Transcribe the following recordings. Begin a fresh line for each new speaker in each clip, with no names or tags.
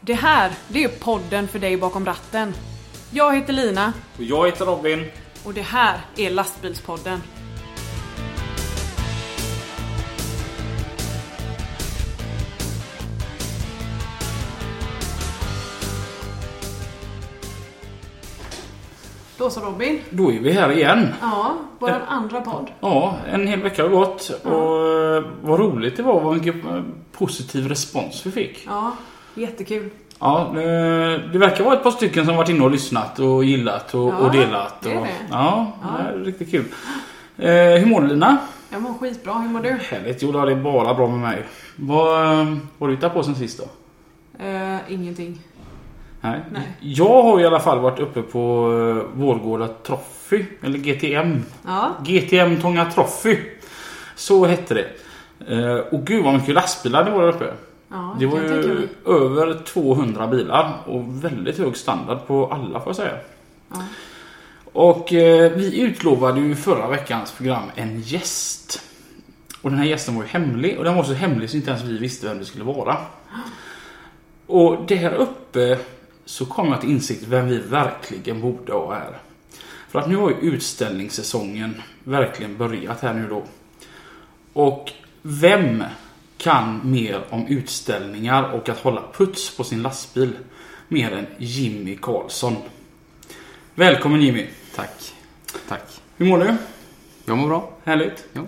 Det här, det är podden för dig bakom ratten. Jag heter Lina
Och jag heter Robin.
och det här är Lastbilspodden. Då så Robin.
Då är vi här igen.
Ja, våran andra podd.
Ja, en hel vecka har gått. Och eh, vad roligt det var. Vad mycket eh, positiv respons vi fick.
Ja, jättekul.
Ja, eh, det verkar vara ett par stycken som varit inne och lyssnat och gillat och,
Ja,
och delat.
det är
och,
det.
Ja,
Ja.
det är riktigt kul. Eh, hur mår du Lina?
Jag mår skitbra, hur mår du?
Härligt. Jo, det är bara bra med mig. Vad eh, har du hittat på sen sist då?
Eh, ingenting.
Nej.
Nej.
Jag har i alla fall varit uppe på eh, Vårgårda Trophy, eller GTM.
Ja,
GTM Tånga Trophy. Så hette det. Eh, Och gud vad mycket lastbilar det var där uppe.
ja
Det var
kan jag tänka mig.
ju över 200 bilar och väldigt hög standard på alla får jag säga.
Ja.
Och eh, vi utlovade ju i förra veckans program en gäst. Och den här gästen var ju hemlig och den var så hemlig så inte ens vi visste vem det skulle vara. Och där uppe så kom jag till insikt vem vi verkligen borde ha här. För att nu har ju utställningssäsongen verkligen börjat här nu då. Och vem kan mer om utställningar och att hålla puts på sin lastbil mer än Jimmy Karlsson? Välkommen Jimmy!
Tack. Tack.
Hur mår du?
Jag mår bra.
Härligt?
Ja.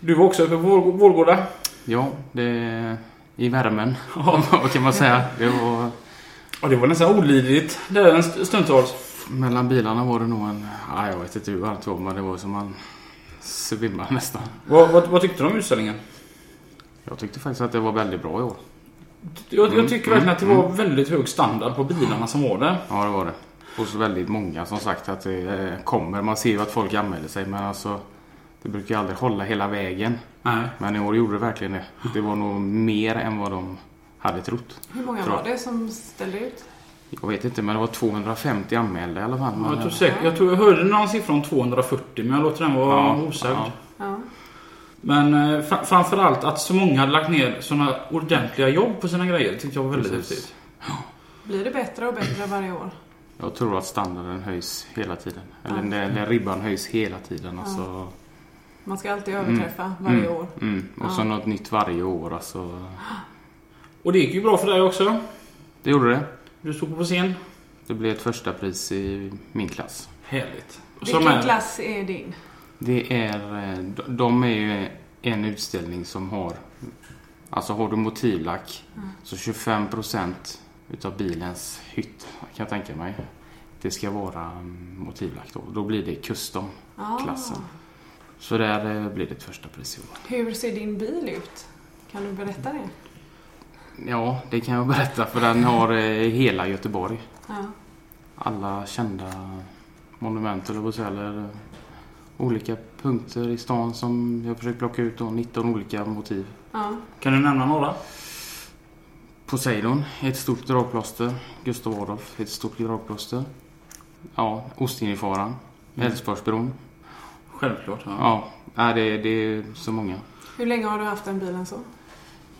Du var också uppe på Vår- Vårgårda?
Ja, det är i värmen. Vad kan man säga? Det var,
Ja, det var nästan olidligt där en st- stundtals.
mellan bilarna var det nog en... Ja, jag vet inte hur allt var, men det var som man svimmade nästan.
Vad, vad, vad tyckte du om utställningen?
Jag tyckte faktiskt att det var väldigt bra i år.
Jag, jag
Mm,
tycker
mm,
verkligen att det var väldigt hög standard på bilarna som var där.
Ja, det var det. Och så väldigt många som sagt att det eh, kommer. Man ser ju att folk anmäler sig, men alltså... Det brukar ju aldrig hålla hela vägen.
Nej.
Men i år gjorde det verkligen det. Det var nog mer än vad de hade trott.
Hur många
Bra.
var det som ställde ut?
Jag vet inte, men det var 250 anmälda i alla fall. Men,
Jag tror, säkert, jag tror jag hörde någon siffra om 240 men jag låter den vara
Ja,
osagd.
ja.
Ja.
Men eh, fra- framförallt att så många hade lagt ner sådana ordentliga jobb på sina grejer tyckte jag var väldigt
Precis.
häftigt.
Blir det bättre och bättre varje år?
Jag tror att standarden höjs hela tiden. Eller
Ja.
den, den ribban höjs hela tiden. Alltså.
Man ska alltid överträffa varje år.
Mm. Och så
Ja.
något nytt varje år. Alltså.
Och det gick ju bra för dig också.
Det gjorde det.
Du stod på scen.
Det blev ett första pris i min klass.
Härligt. Och så
Vilken
med-
klass är din?
Det är, eh, de- de är ju en utställning som har, alltså har du motivlack
Mm.
så 25% utav bilens hytt kan jag tänka mig. Det ska vara mm, motivlack då. Då blir det custom
Ah.
klassen. Så där eh, blir det ett första pris i år.
Hur ser din bil ut? Kan du berätta det?
Ja, det kan jag berätta för den har eh, hela Göteborg.
Ja.
Alla kända monument eller vad säger, eller eh, olika punkter i stan som jag försökt plocka ut då, 19 olika motiv.
Ja.
Kan du nämna några?
Poseidon är ett stort dragplåster. Gustav Adolf är ett stort dragplåster. Ja, Ostindiefararen.
Mm.
Älvsborgsbron.
Självklart. Ja.
Ja, nej, det, det är så många.
Hur länge har du haft den bilen så?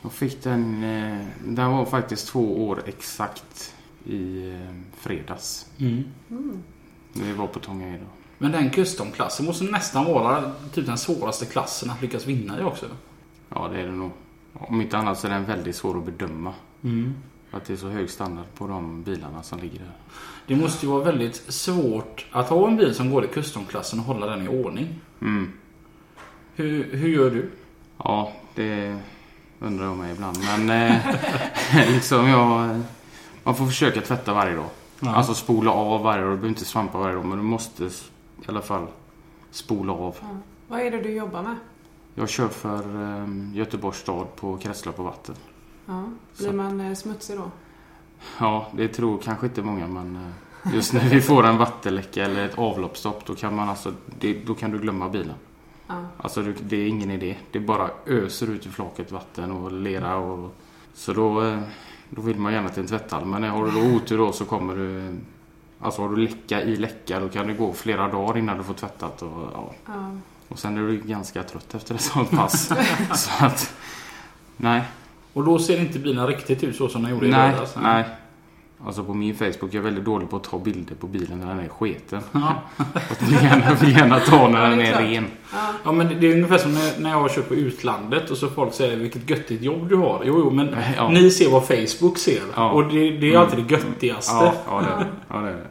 Jag fick den, eh, den var faktiskt två år exakt i eh, fredags.
Mm.
Mm.
När vi var på Tånga idag.
Men den custom-klassen måste nästan vara typ den svåraste klassen att lyckas vinna i också.
Ja, det är det nog. Om inte annat så är den väldigt svår att bedöma.
Mm.
För Att det är så hög standard på de bilarna som ligger där.
Det måste ju vara väldigt svårt att ha en bil som går i custom-klassen och hålla den i ordning.
Mm.
Hur, hur gör du?
Ja, det undrar jag mig ibland. Men eh, liksom jag... Man får försöka tvätta varje dag. Alltså spola av varje dag. Du behöver inte svampa varje dag, men du måste s- i alla fall spola av.
Ja. Vad är det du jobbar med?
Jag kör för eh, Göteborgs stad på kretslopp och vatten.
Ja. Blir
Så-
man eh, smutsig då?
Ja, det tror kanske inte många, men eh, just när vi får en vattenläcka eller ett avloppsstopp, då kan man alltså... Det, då kan du glömma bilen.
Ja.
Alltså det, det är ingen idé. Det bara öser ut i flaket vatten och lera och... Så då, eh, då vill man gärna till en tvättall. Men har du då otur då så kommer du... eh, Alltså har du läcka i läcka då kan det gå flera dagar innan du får tvättat och ja.
Ja.
Och sen är du ganska trött efter ett sånt pass. så att... Nej.
Och då ser inte bilen riktigt ut så som den gjorde i
Nej.
alltså.
lördags.
Nej. Alltså på min Facebook, jag är väldigt dålig på att ta bilder på bilen när den är sketen. jag vill gärna, jag vill gärna ta när
Ja, det är
den är
klart.
ren.
Ja men det är ungefär som när- när jag kör på utlandet och så folk säger vilket göttigt jobb du har. Jo, jo men
Ja.
ni ser vad Facebook ser.
Ja. Mm.
Och det, det är ju alltid det göttigaste.
Ja, ja, det är det. Ja, det, är det.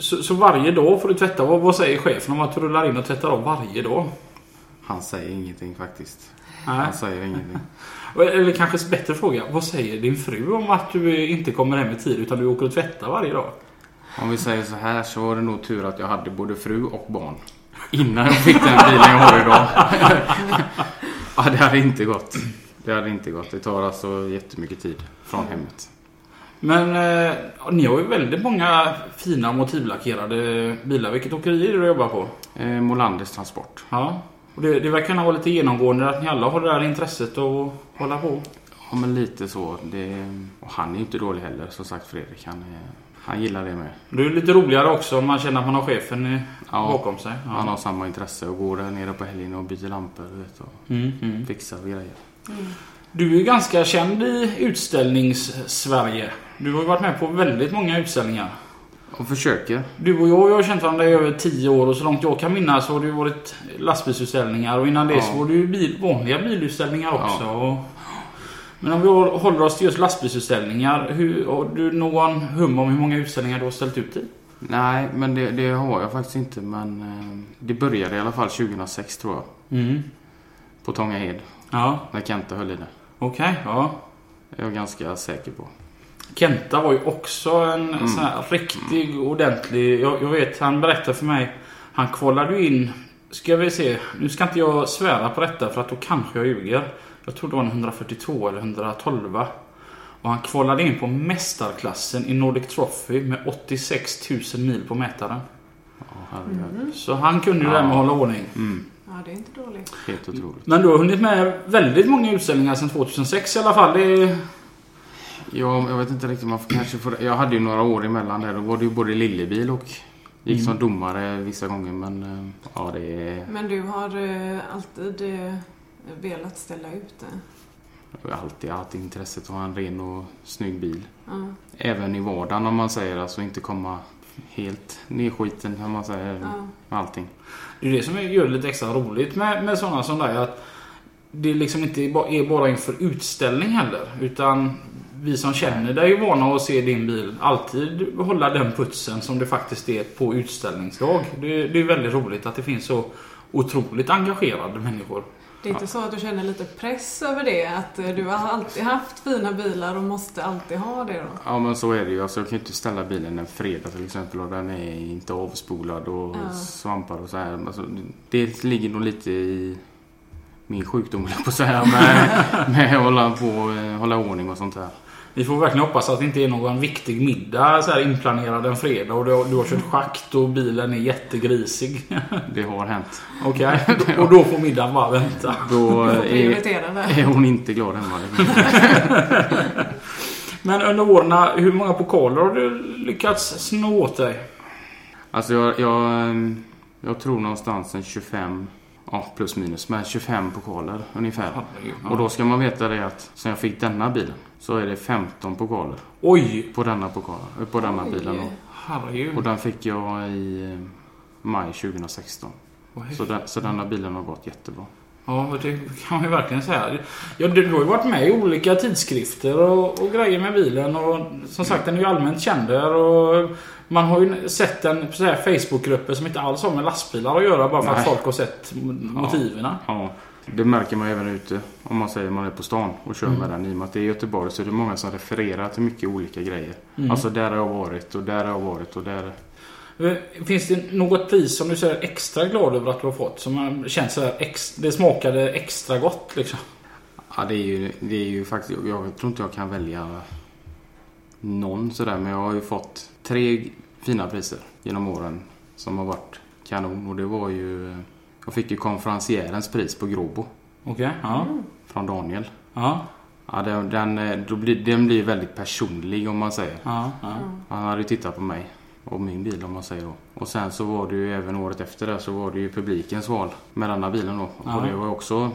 Så, så varje dag får du tvätta. Vad, vad säger chefen om att du rullar in och tvättar av varje dag?
Han säger ingenting faktiskt.
Nej.
Han säger ingenting.
Eller kanske en bättre fråga. Vad säger din fru om att du inte kommer hem i tid utan du åker och tvättar varje dag?
Om vi säger så här så var det nog tur att jag hade både fru och barn. Innan jag fick den bilen jag har idag. ja, det hade inte gått. Det hade inte gått. Det tar alltså jättemycket tid från hemmet.
Men eh, ni har ju väldigt många fina motivlackerade bilar. Vilket åkeri är det du jobbar på?
Eh, Molanders Transport.
Ja. Och det, det verkar vara lite genomgående att ni alla har det här intresset att hålla på.
Ja, men lite så. Det, och han är ju inte dålig heller, som sagt Fredrik. Han, är, han gillar det med.
Det är lite roligare också om man känner att man har chefen eh,
Ja.
bakom sig. Ja.
Han har samma intresse och går där nere på helgen och byter lampor du vet, och
Mm, mm.
fixar grejer.
Du är ju ganska känd i utställnings-Sverige. Du har ju varit med på väldigt många utställningar.
Och försöker.
Du och jag, jag har känt varandra i över 10 år och så långt jag kan minnas har det varit lastbilsutställningar och innan det
Ja.
så var det ju bil, vanliga bilutställningar
Ja.
också. Och... Men om vi hå- håller oss till just lastbilsutställningar. Hur, har du någon hum om hur många utställningar du har ställt ut i?
Nej, men det, det har jag faktiskt inte. Men eh, det började i alla fall 2006 tror jag.
Mm.
På Tångahed.
Ja,
När Kenta höll i det.
okej. ja.
Jag är ganska säker på.
Kenta var ju också en sån här riktig ordentlig... Jag, jag vet, han berättade för mig. Han kvalade ju in... Ska vi se. Nu ska inte jag svära på detta för att då kanske jag ljuger. Jag tror det var en 142 eller 112. Och han kvalade in på mästarklassen i Nordic Trophy med 86 000 mil på mätaren.
Ja, herregud. Mm.
Så han kunde ju det där med att hålla ordning.
Ja, det är inte dåligt.
Helt otroligt.
Men du har hunnit med väldigt många utställningar sedan 2006 i alla fall. Det är...
Jag, jag vet inte riktigt. Man får, kanske får, jag hade ju några år emellan där. Då var det ju både lillebil och gick som domare vissa gånger. Men eh, ja, det är
Men du har eh, alltid eh, velat ställa ut det.
jag har alltid, jag har alltid intresset att ha en ren och snygg bil.
Ja,
Även i vardagen om man säger. Alltså inte komma helt nedskiten om man säger.
ja.
Med allting.
Det är det som gör det lite extra roligt med, med sådana som dig. Att det liksom inte är bara- är bara inför utställning heller. Utan vi som känner dig är vana att se din bil alltid hålla den putsen som det faktiskt är på utställningsdag. Det, det är väldigt roligt att det finns så otroligt engagerade människor.
Det är inte så att du känner lite press över det? Att eh, du har alltid haft fina bilar och måste alltid ha det då?
Ja men så är det ju. Alltså, jag kan ju inte ställa bilen en fredag till exempel och den är inte avspolad och
Ja.
svampar och så här. Alltså, det ligger nog lite i min sjukdom höll jag på att säga med, med att hålla, på, eh, hålla ordning och sånt där.
Vi får verkligen hoppas att det inte är någon viktig middag så här inplanerad en fredag och du har, du har kört schakt och bilen är jättegrisig.
Det har hänt.
Okej, och då får middagen bara vänta.
Då
Du får
eh, är,
prioritera det.
är hon inte glad hemma.
Men under åren, hur många pokaler har du lyckats sno åt dig?
Alltså jag, jag, eh, jag tror någonstans en 25, ja plus minus, men 25 pokaler ungefär. Och då ska man veta det att sen jag fick denna bilen så är det 15 pokaler.
Oj!
På denna, pokal, eh, på denna
Oj.
bilen då. Och
Herregud.
den fick jag i eh, maj 2016. Så, den, så denna bilen har gått jättebra.
Ja, det kan man ju verkligen säga. Ja, du, du har ju varit med i olika tidskrifter och, och grejer med bilen. Och som sagt, den är ju allmänt känd där. Och man har ju sett den på så här Facebookgrupper som inte alls har med lastbilar att göra bara för att
Nej.
folk har sett mo- motiverna.
Ja, det märker man ju även ute. Om man säger man är på stan och kör med den. I och med att det är Göteborg så är det många som refererar till mycket olika grejer.
Mm.
Alltså där har jag varit och där har jag varit och där.
Eh, Finns det något pris som du är så här extra glad över att du har fått? Som har känts så här ex, det smakade extra gott liksom?
Ja, det är ju, det är ju faktiskt... Jag tror inte jag kan välja någon sådär. Men jag har ju fått tre fina priser genom åren som har varit kanon. Och det var ju... Jag fick ju konferenciärens pris på Gråbo
Okej, ja.
från Daniel.
Ja, ja
Ja, den, den, eh, då blir, den blir ju väldigt personlig om man säger.
ja, ja.
Han hade ju tittat på mig och min bil om man säger då. Och sen så var det ju även året efter det så var det ju publikens val med denna bilen då.
Ja.
Och det var ju också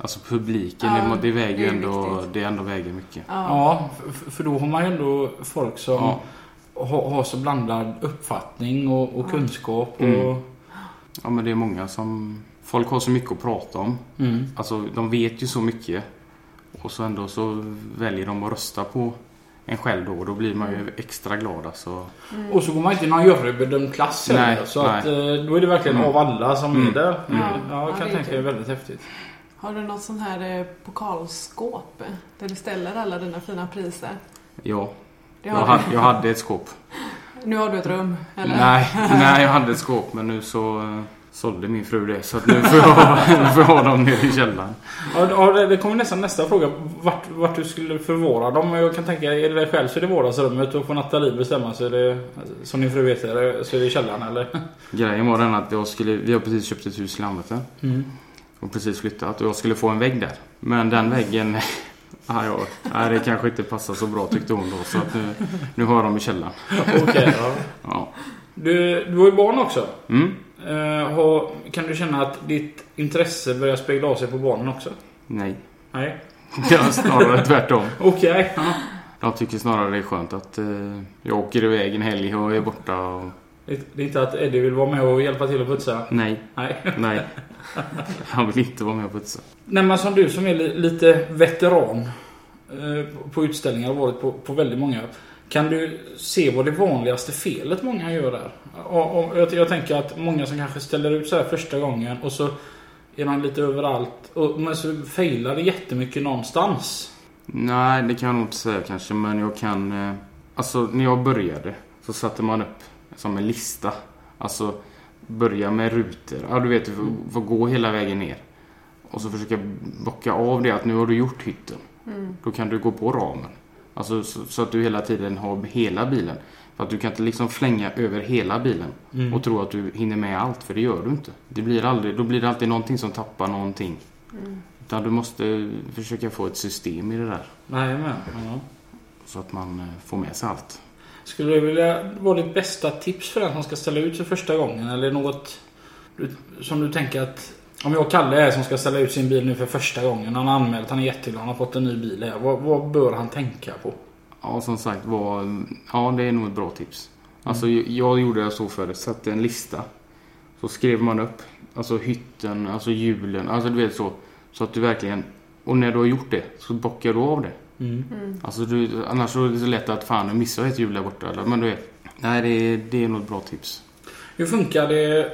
Alltså publiken,
Ja,
det, må- det väger
det
ju
är
ändå,
viktigt.
det ändå väger mycket.
Ja.
Ja, för, för då har man ju ändå folk som
Ja.
har, har så blandad uppfattning och, och
Ja.
kunskap. Och,
Mm. Ja men det är många som... Folk har så mycket att prata om.
Mm.
Alltså de vet ju så mycket. Och så ändå så väljer de att rösta på en själv då. Då blir man
Mm.
ju extra glad alltså.
Och så går man inte i någon jurybedömd klass heller.
Nej,
så
nej.
att, eh, då är det verkligen
Mm.
av alla som är
Mm.
där.
Mm.
Ja,
Ja,
jag
det
kan
är
tänka mig
kul.
väldigt häftigt.
Har du något sånt här eh, pokalskåp eh, där du ställer alla dina fina priser?
Ja,
Det
jag
har
hade, jag hade ett skåp.
du. Nu har du ett rum, eller?
Nej, nej, jag hade ett skåp men nu så eh, sålde min fru det. Så att nu får jag, ha- nu får jag ha dem nere i källaren.
Ja, ja, det- det kommer nästan nästa fråga. Vart, vart du skulle förvara dem. Jag kan tänka, är det dig själv så är det vardagsrummet och får Nathalie bestämma så är det, som din fru heter, så är det källaren eller?
Grejen var den att jag skulle, vi har precis köpt ett hus i Landvetter. Och precis flyttat och jag skulle få en vägg där. Men den väggen... Ah, ja, nej, det kanske inte passar så bra tyckte hon då. Så att nu, nu har jag dem i källaren.
Okej, ja.
Ja.
Du, du har ju barn också.
Mm.
Eh, har, kan du känna att ditt intresse börjar spegla av sig på barnen också?
Nej.
Nej.
Ja, snarare tvärtom.
Okej. Ja.
Jag tycker snarare det är skönt att eh, jag åker iväg en helg och är borta. Och...
Det det är inte att Eddie vill vara med och hjälpa till att putsa?
Nej,
Nej.
nej. Han vill inte vara med och putsa.
Nej men som du som är li- lite veteran eh, på- på utställningar och varit på, på väldigt många. Kan du se vad det vanligaste felet många gör där? Och, och, jag, jag tänker att många som kanske ställer ut så här första gången och så är de lite överallt. Och, men så failar det jättemycket någonstans.
Nej, det kan jag nog inte säga kanske, men jag kan... Eh, alltså, när jag började så satte man upp som en lista. Alltså, börja med rutor. Ja, du vet, du får- får gå hela vägen ner. Och så försöka bocka av det att nu har du gjort hytten.
Mm.
Då kan du gå på ramen. Alltså, så, så att du hela tiden har hela bilen. För att du kan inte liksom flänga över hela bilen och tro att du hinner med allt, för det gör du inte. Det blir aldrig, då blir det alltid någonting som tappar någonting.
Mm.
Utan du måste försöka få ett system i det där.
Nej men. Ja.
Så att man eh, får med sig allt.
Skulle du vilja vara ditt bästa tips för den som ska ställa ut sig första gången? Eller något du, som du tänker att om jag och Kalle är som ska ställa ut sin bil nu för första gången. Han har anmält, han är jätteglad, han har fått en ny bil här. Vad, vad bör han tänka på?
Ja, som sagt var... Ja, det är nog ett bra tips. Alltså, jag- jag gjorde så förut. Satte en lista. Så skrev man upp. Alltså hytten, alltså hjulen, alltså du vet så. Så att du verkligen... Och när du har gjort det så bockar du av det.
Mm.
Alltså du, annars så är det så lätt att fan, nu missar jag ett hjul där borta. Eller, men du vet. Nej, det, är- det är nog ett bra tips.
Hur funkar det eh,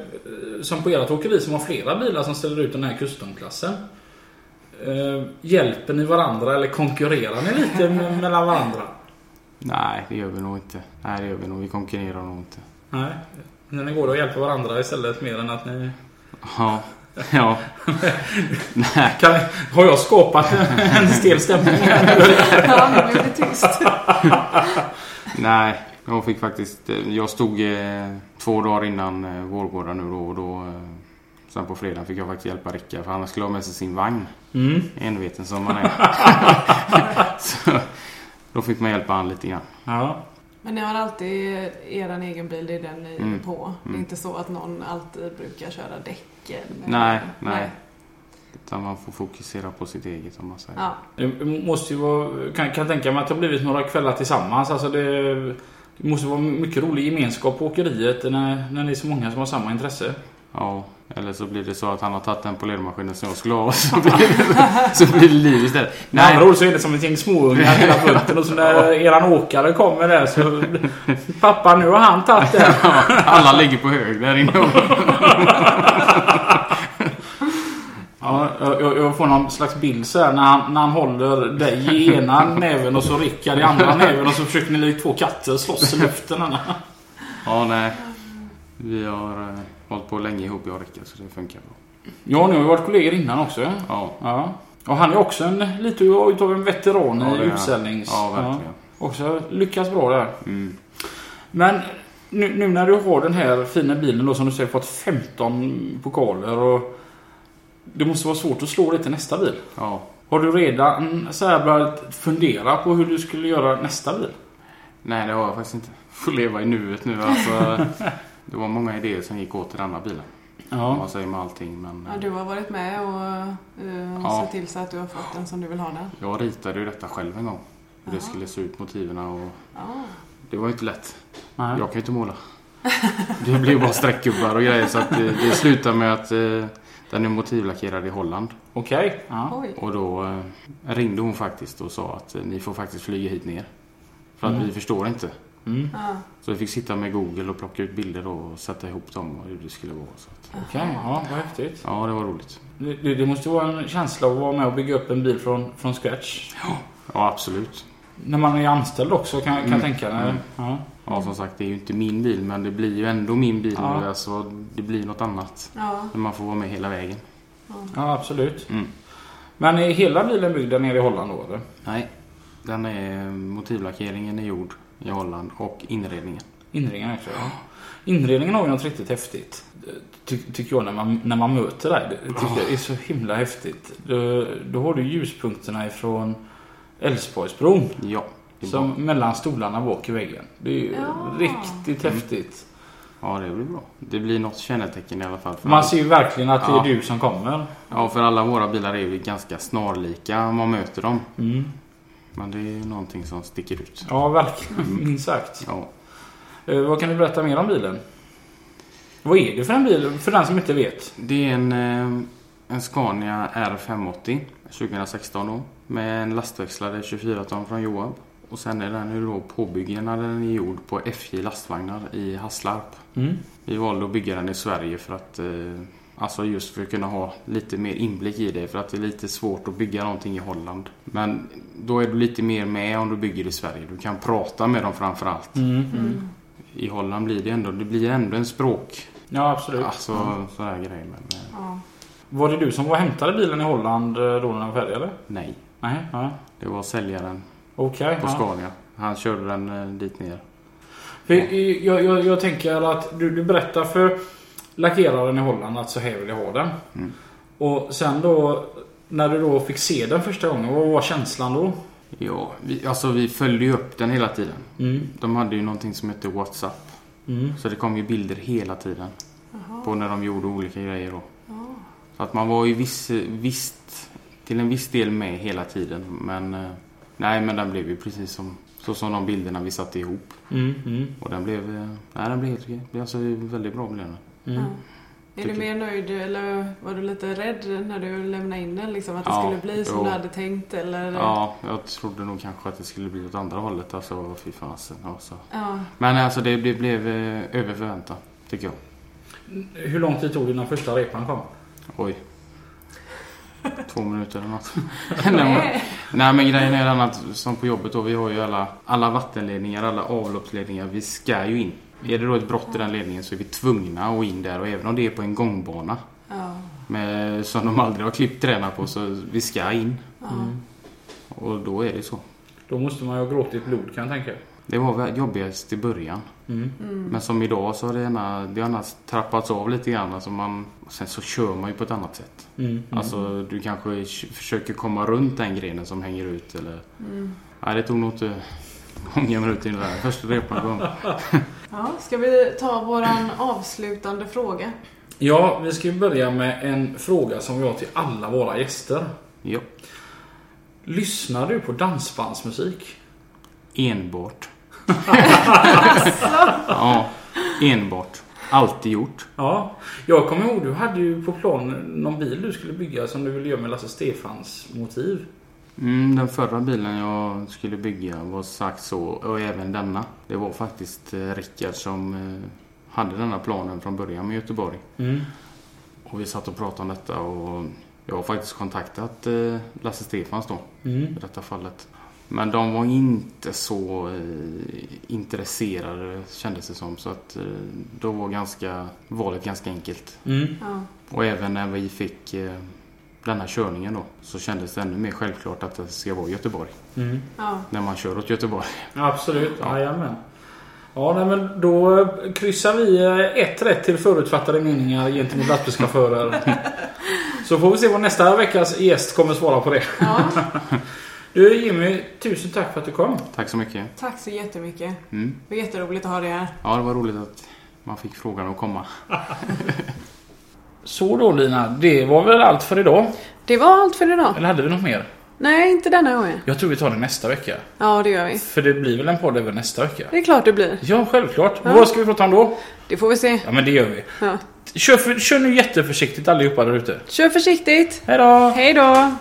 som på ert åkeri som har flera bilar som ställer ut den här custom-klassen? Eh, hjälper ni varandra eller konkurrerar ni lite me- mellan varandra?
Nej, det gör vi nog inte. Nej, det gör vi nog. Vi konkurrerar nog inte.
Nej. När ni går och hjälper varandra istället mer än att ni...
Ja. Ja. Nej.
Kan, har jag skapat en stel stämning här?
Ja, nu blev det tyst.
Nej, jag fick faktiskt... eh, Jag stod eh, två dagar innan eh, Vårgårda nu då och då... Eh, sen på fredagen fick jag faktiskt hjälpa Rickard för han skulle ha med sig sin vagn.
Mm.
Enveten som han är. så, då fick man hjälpa han lite grann.
Ja.
Men ni har alltid er egen bil, det är den ni är
Mm.
på. Det är
Mm.
inte så att någon alltid brukar köra däcken. eller-
Nej, nej. Utan man får fokusera på sitt eget om man säger.
Ja.
Det måste ju vara, kan, kan tänka mig att det har blivit några kvällar tillsammans. Alltså det, det måste vara mycket rolig gemenskap på åkeriet när, när ni är så många som har samma intresse.
Ja, eller så blir det så att han har tagit den polermaskinen som jag skulle ha. Så blir det, så blir det liv istället.
Med
Nej,
andra ord så är det som ett gäng småungar hela bunten och så när eran åkare kommer där så... Pappa, nu har han tagit den.
alla ligger på hög där inne.
Ja, jag, jag- jag får någon slags bild så här när han, när han håller dig i ena näven och så Rickard i andra näven och så försöker ni likt två katter slåss i luften.
Ja, nej. Vi har eh, hållit på länge ihop jag och Rickard så det funkar bra.
Ja, ni har ju varit kollegor innan också.
Ja,
Ja. Och han är också en, lite utav en veteran
Ja, det är
i
han.
utställnings...
ja verkligen.
Också lyckas bra där.
Mm.
Men nu, nu när du har den här fina bilen då som du säger fått 15 pokaler och... Det måste vara svårt att slå det till nästa bil.
Ja.
Har du redan så här börjat fundera på hur du skulle göra nästa bil?
Nej, det har jag faktiskt inte. Får leva i nuet nu alltså. Det var många idéer som gick åt till den andra bilen. om
Ja.
man säger med allting. Men eh,
Ja, du har varit med och uh,
Ja.
sett till så att du har fått den som du vill ha den.
jag ritade ju detta själv en gång. Hur det
Jaha.
skulle se ut, motiven och...
Ja.
Det var ju inte lätt.
Nej.
Jag kan ju inte måla. Det blir bara streckgubbar och grejer så att det, det slutar med att eh, den är motivlackerad i Holland.
Okej. Ja.
Oj.
Och då eh, ringde hon faktiskt och sa att eh, ni får faktiskt flyga hit ner. För att
Mm.
vi förstår inte.
Mm.
Ja.
Så vi fick sitta med Google och plocka ut bilder då och sätta ihop dem och hur det skulle vara. Så att,
Okej, ja, vad häftigt.
ja, det var roligt.
Det, det det måste vara en känsla att vara med och bygga upp en bil från, från scratch.
Ja, absolut.
När man är anställd också kan, kan jag
Mm.
tänka mig.
Mm.
Ja.
Ja, som sagt, det är ju inte min bil men det blir ju ändå min bil.
Ja.
nu. Alltså, det blir något annat.
Ja.
Men man får vara med hela vägen.
ja, absolut.
Mm.
Men är hela bilen byggd där nere i Holland då eller?
Nej, den är motivlackeringen är gjord i Holland och inredningen.
Inredningen också? Ja. Inredningen har ju något riktigt häftigt. Ty, tycker jag när man, när man möter dig. Det tycker jag är så himla häftigt. Då, då har du ljuspunkterna ifrån Älvsborgsbron.
Ja, det är
Som
bra.
mellan stolarna bak i väggen. Det är ju
Ja.
riktigt
Mm.
häftigt.
Ja, det blir bra. Det blir något kännetecken i alla fall. För
Man
alla-
ser ju verkligen att det är
Ja.
du som kommer.
Ja, för alla våra bilar är ju ganska snarlika om man möter dem.
Mm.
Men det är ju någonting som sticker ut.
Ja, verkligen.
Mm.
Minst sagt.
Ja.
Eh, vad kan du berätta mer om bilen? Vad är det för en bil? För den som inte vet.
Det är en, eh, en Scania R580 2016 då. Med en lastväxlare 24 ton från Joab. Och sen är den ju då påbyggnaden är gjord på FJ lastvagnar i Hasslarp.
Mm.
Vi valde att bygga den i Sverige för att eh, Alltså just för att kunna ha lite mer inblick i det för att det är lite svårt att bygga någonting i Holland. Men då är du lite mer med om du bygger i Sverige. Du kan prata med dem framförallt.
Mm.
Mm.
I Holland blir det ändå, det blir ändå en språk.
Ja, absolut.
Alltså sådana här grejer. Men eh,
Ja.
Var det du som var och hämtade bilen i Holland eh, då när den var färdig eller?
nej,
Nej, nej.
det var säljaren
Okej.
på
ja.
Scania. Han körde den eh, dit ner.
För, eh, jag, jag, jag tänker att du, du berättar för lackeraren i Holland att så här vill jag ha den.
Mm.
Och sen då när du då fick se den första gången, vad var känslan då?
Ja, vi, alltså vi följde ju upp den hela tiden.
Mm.
De hade ju någonting som hette WhatsApp.
Mm.
Så det kom ju bilder hela tiden.
Jaha.
På när de gjorde olika grejer då.
Ja.
Så att man var ju viss, visst, till en viss del med hela tiden. Men eh, nej, men den blev ju precis som, så som de bilderna vi satte ihop.
Mm. Mm.
Och den blev, eh, nej den blev helt okej. Det blev Alltså väldigt bra blev den.
Mm.
Ja. Är
Tycker
du mer nöjd eller var du lite rädd när du lämnade in den? Liksom, att det
Ja,
skulle bli som
jo.
du hade tänkt? Eller?
Ja, jag trodde nog kanske att det skulle bli åt andra hållet. Alltså, fy fasen. Alltså.
Ja.
Men alltså det, det blev eh, över förväntan, tycker jag.
Hur lång tid tog det innan första repan kom?
Oj. Två minuter eller något. Nej, men- Nej men grejen är den att som på jobbet då, vi har ju alla, alla vattenledningar, alla avloppsledningar. Vi ska ju in. Är det då ett brott i den ledningen så är vi tvungna att in där och även om det är på en gångbana
Ja.
med, som de aldrig har klippt träna på så vi ska in.
Ja.
Mm. Och då är det så.
Mm. Då måste man ju ha gråtit blod kan jag tänka.
Det var väl jobbigast i början.
Mm.
Mm.
Men som idag så har det gärna, det har gärna trappats av lite grann. Alltså man, och sen så kör man ju på ett annat sätt.
Mm. Mm.
Alltså du kanske k- försöker komma runt den grenen som hänger ut eller...
Mm.
Nej det tog nog inte många minuter innan den första repan kom.
Ja, ska vi ta våran avslutande fråga?
Ja, vi ska ju börja med en fråga som vi har till alla våra gäster.
Ja.
Lyssnar du på dansbandsmusik?
Enbart. ja. Enbart. Alltid gjort.
Ja, jag kommer ihåg du hade ju på plan någon bil du skulle bygga som du ville göra med Lasse Stefans motiv.
Mm, den förra bilen jag skulle bygga var sagt så och även denna. Det var faktiskt eh, Rickard som eh, hade denna planen från början med Göteborg.
Mm.
Och vi satt och pratade om detta och jag har faktiskt kontaktat eh, Lasse Stefans då i
Mm.
detta fallet. Men de var inte så eh, intresserade kändes det som så att eh, då var ganska, valet ganska enkelt.
Mm.
Ja.
Och även när vi fick eh, den här körningen då så kändes det ännu mer självklart att det ska vara Göteborg.
Mm.
Ja.
När man kör åt Göteborg.
Absolut,
Ja.
jajamän. Ja, nej, men då eh, kryssar vi eh, ett rätt till förutfattade meningar gentemot lastbilschaufförer. Så får vi se vad nästa veckas gäst kommer svara på det.
ja.
Du Jimmy, tusen tack för att du kom.
Tack så mycket.
Tack så jättemycket.
Mm.
Det var jätteroligt att ha dig här.
Ja, det var roligt att man fick frågan att komma.
Så då Lina, det var väl allt för idag?
Det var allt för idag.
Eller hade vi något mer?
Nej, inte denna gången.
Jag tror vi tar det nästa vecka.
Ja, det gör vi.
För det blir väl en podd även nästa vecka?
Det är klart det blir.
Ja, självklart.
Ja.
Vad ska vi prata om då?
Det får vi se.
Ja, men det gör vi.
Ja.
Kör, för, kör nu jätteförsiktigt allihopa där ute.
Kör försiktigt.
Hej då!
Hej då!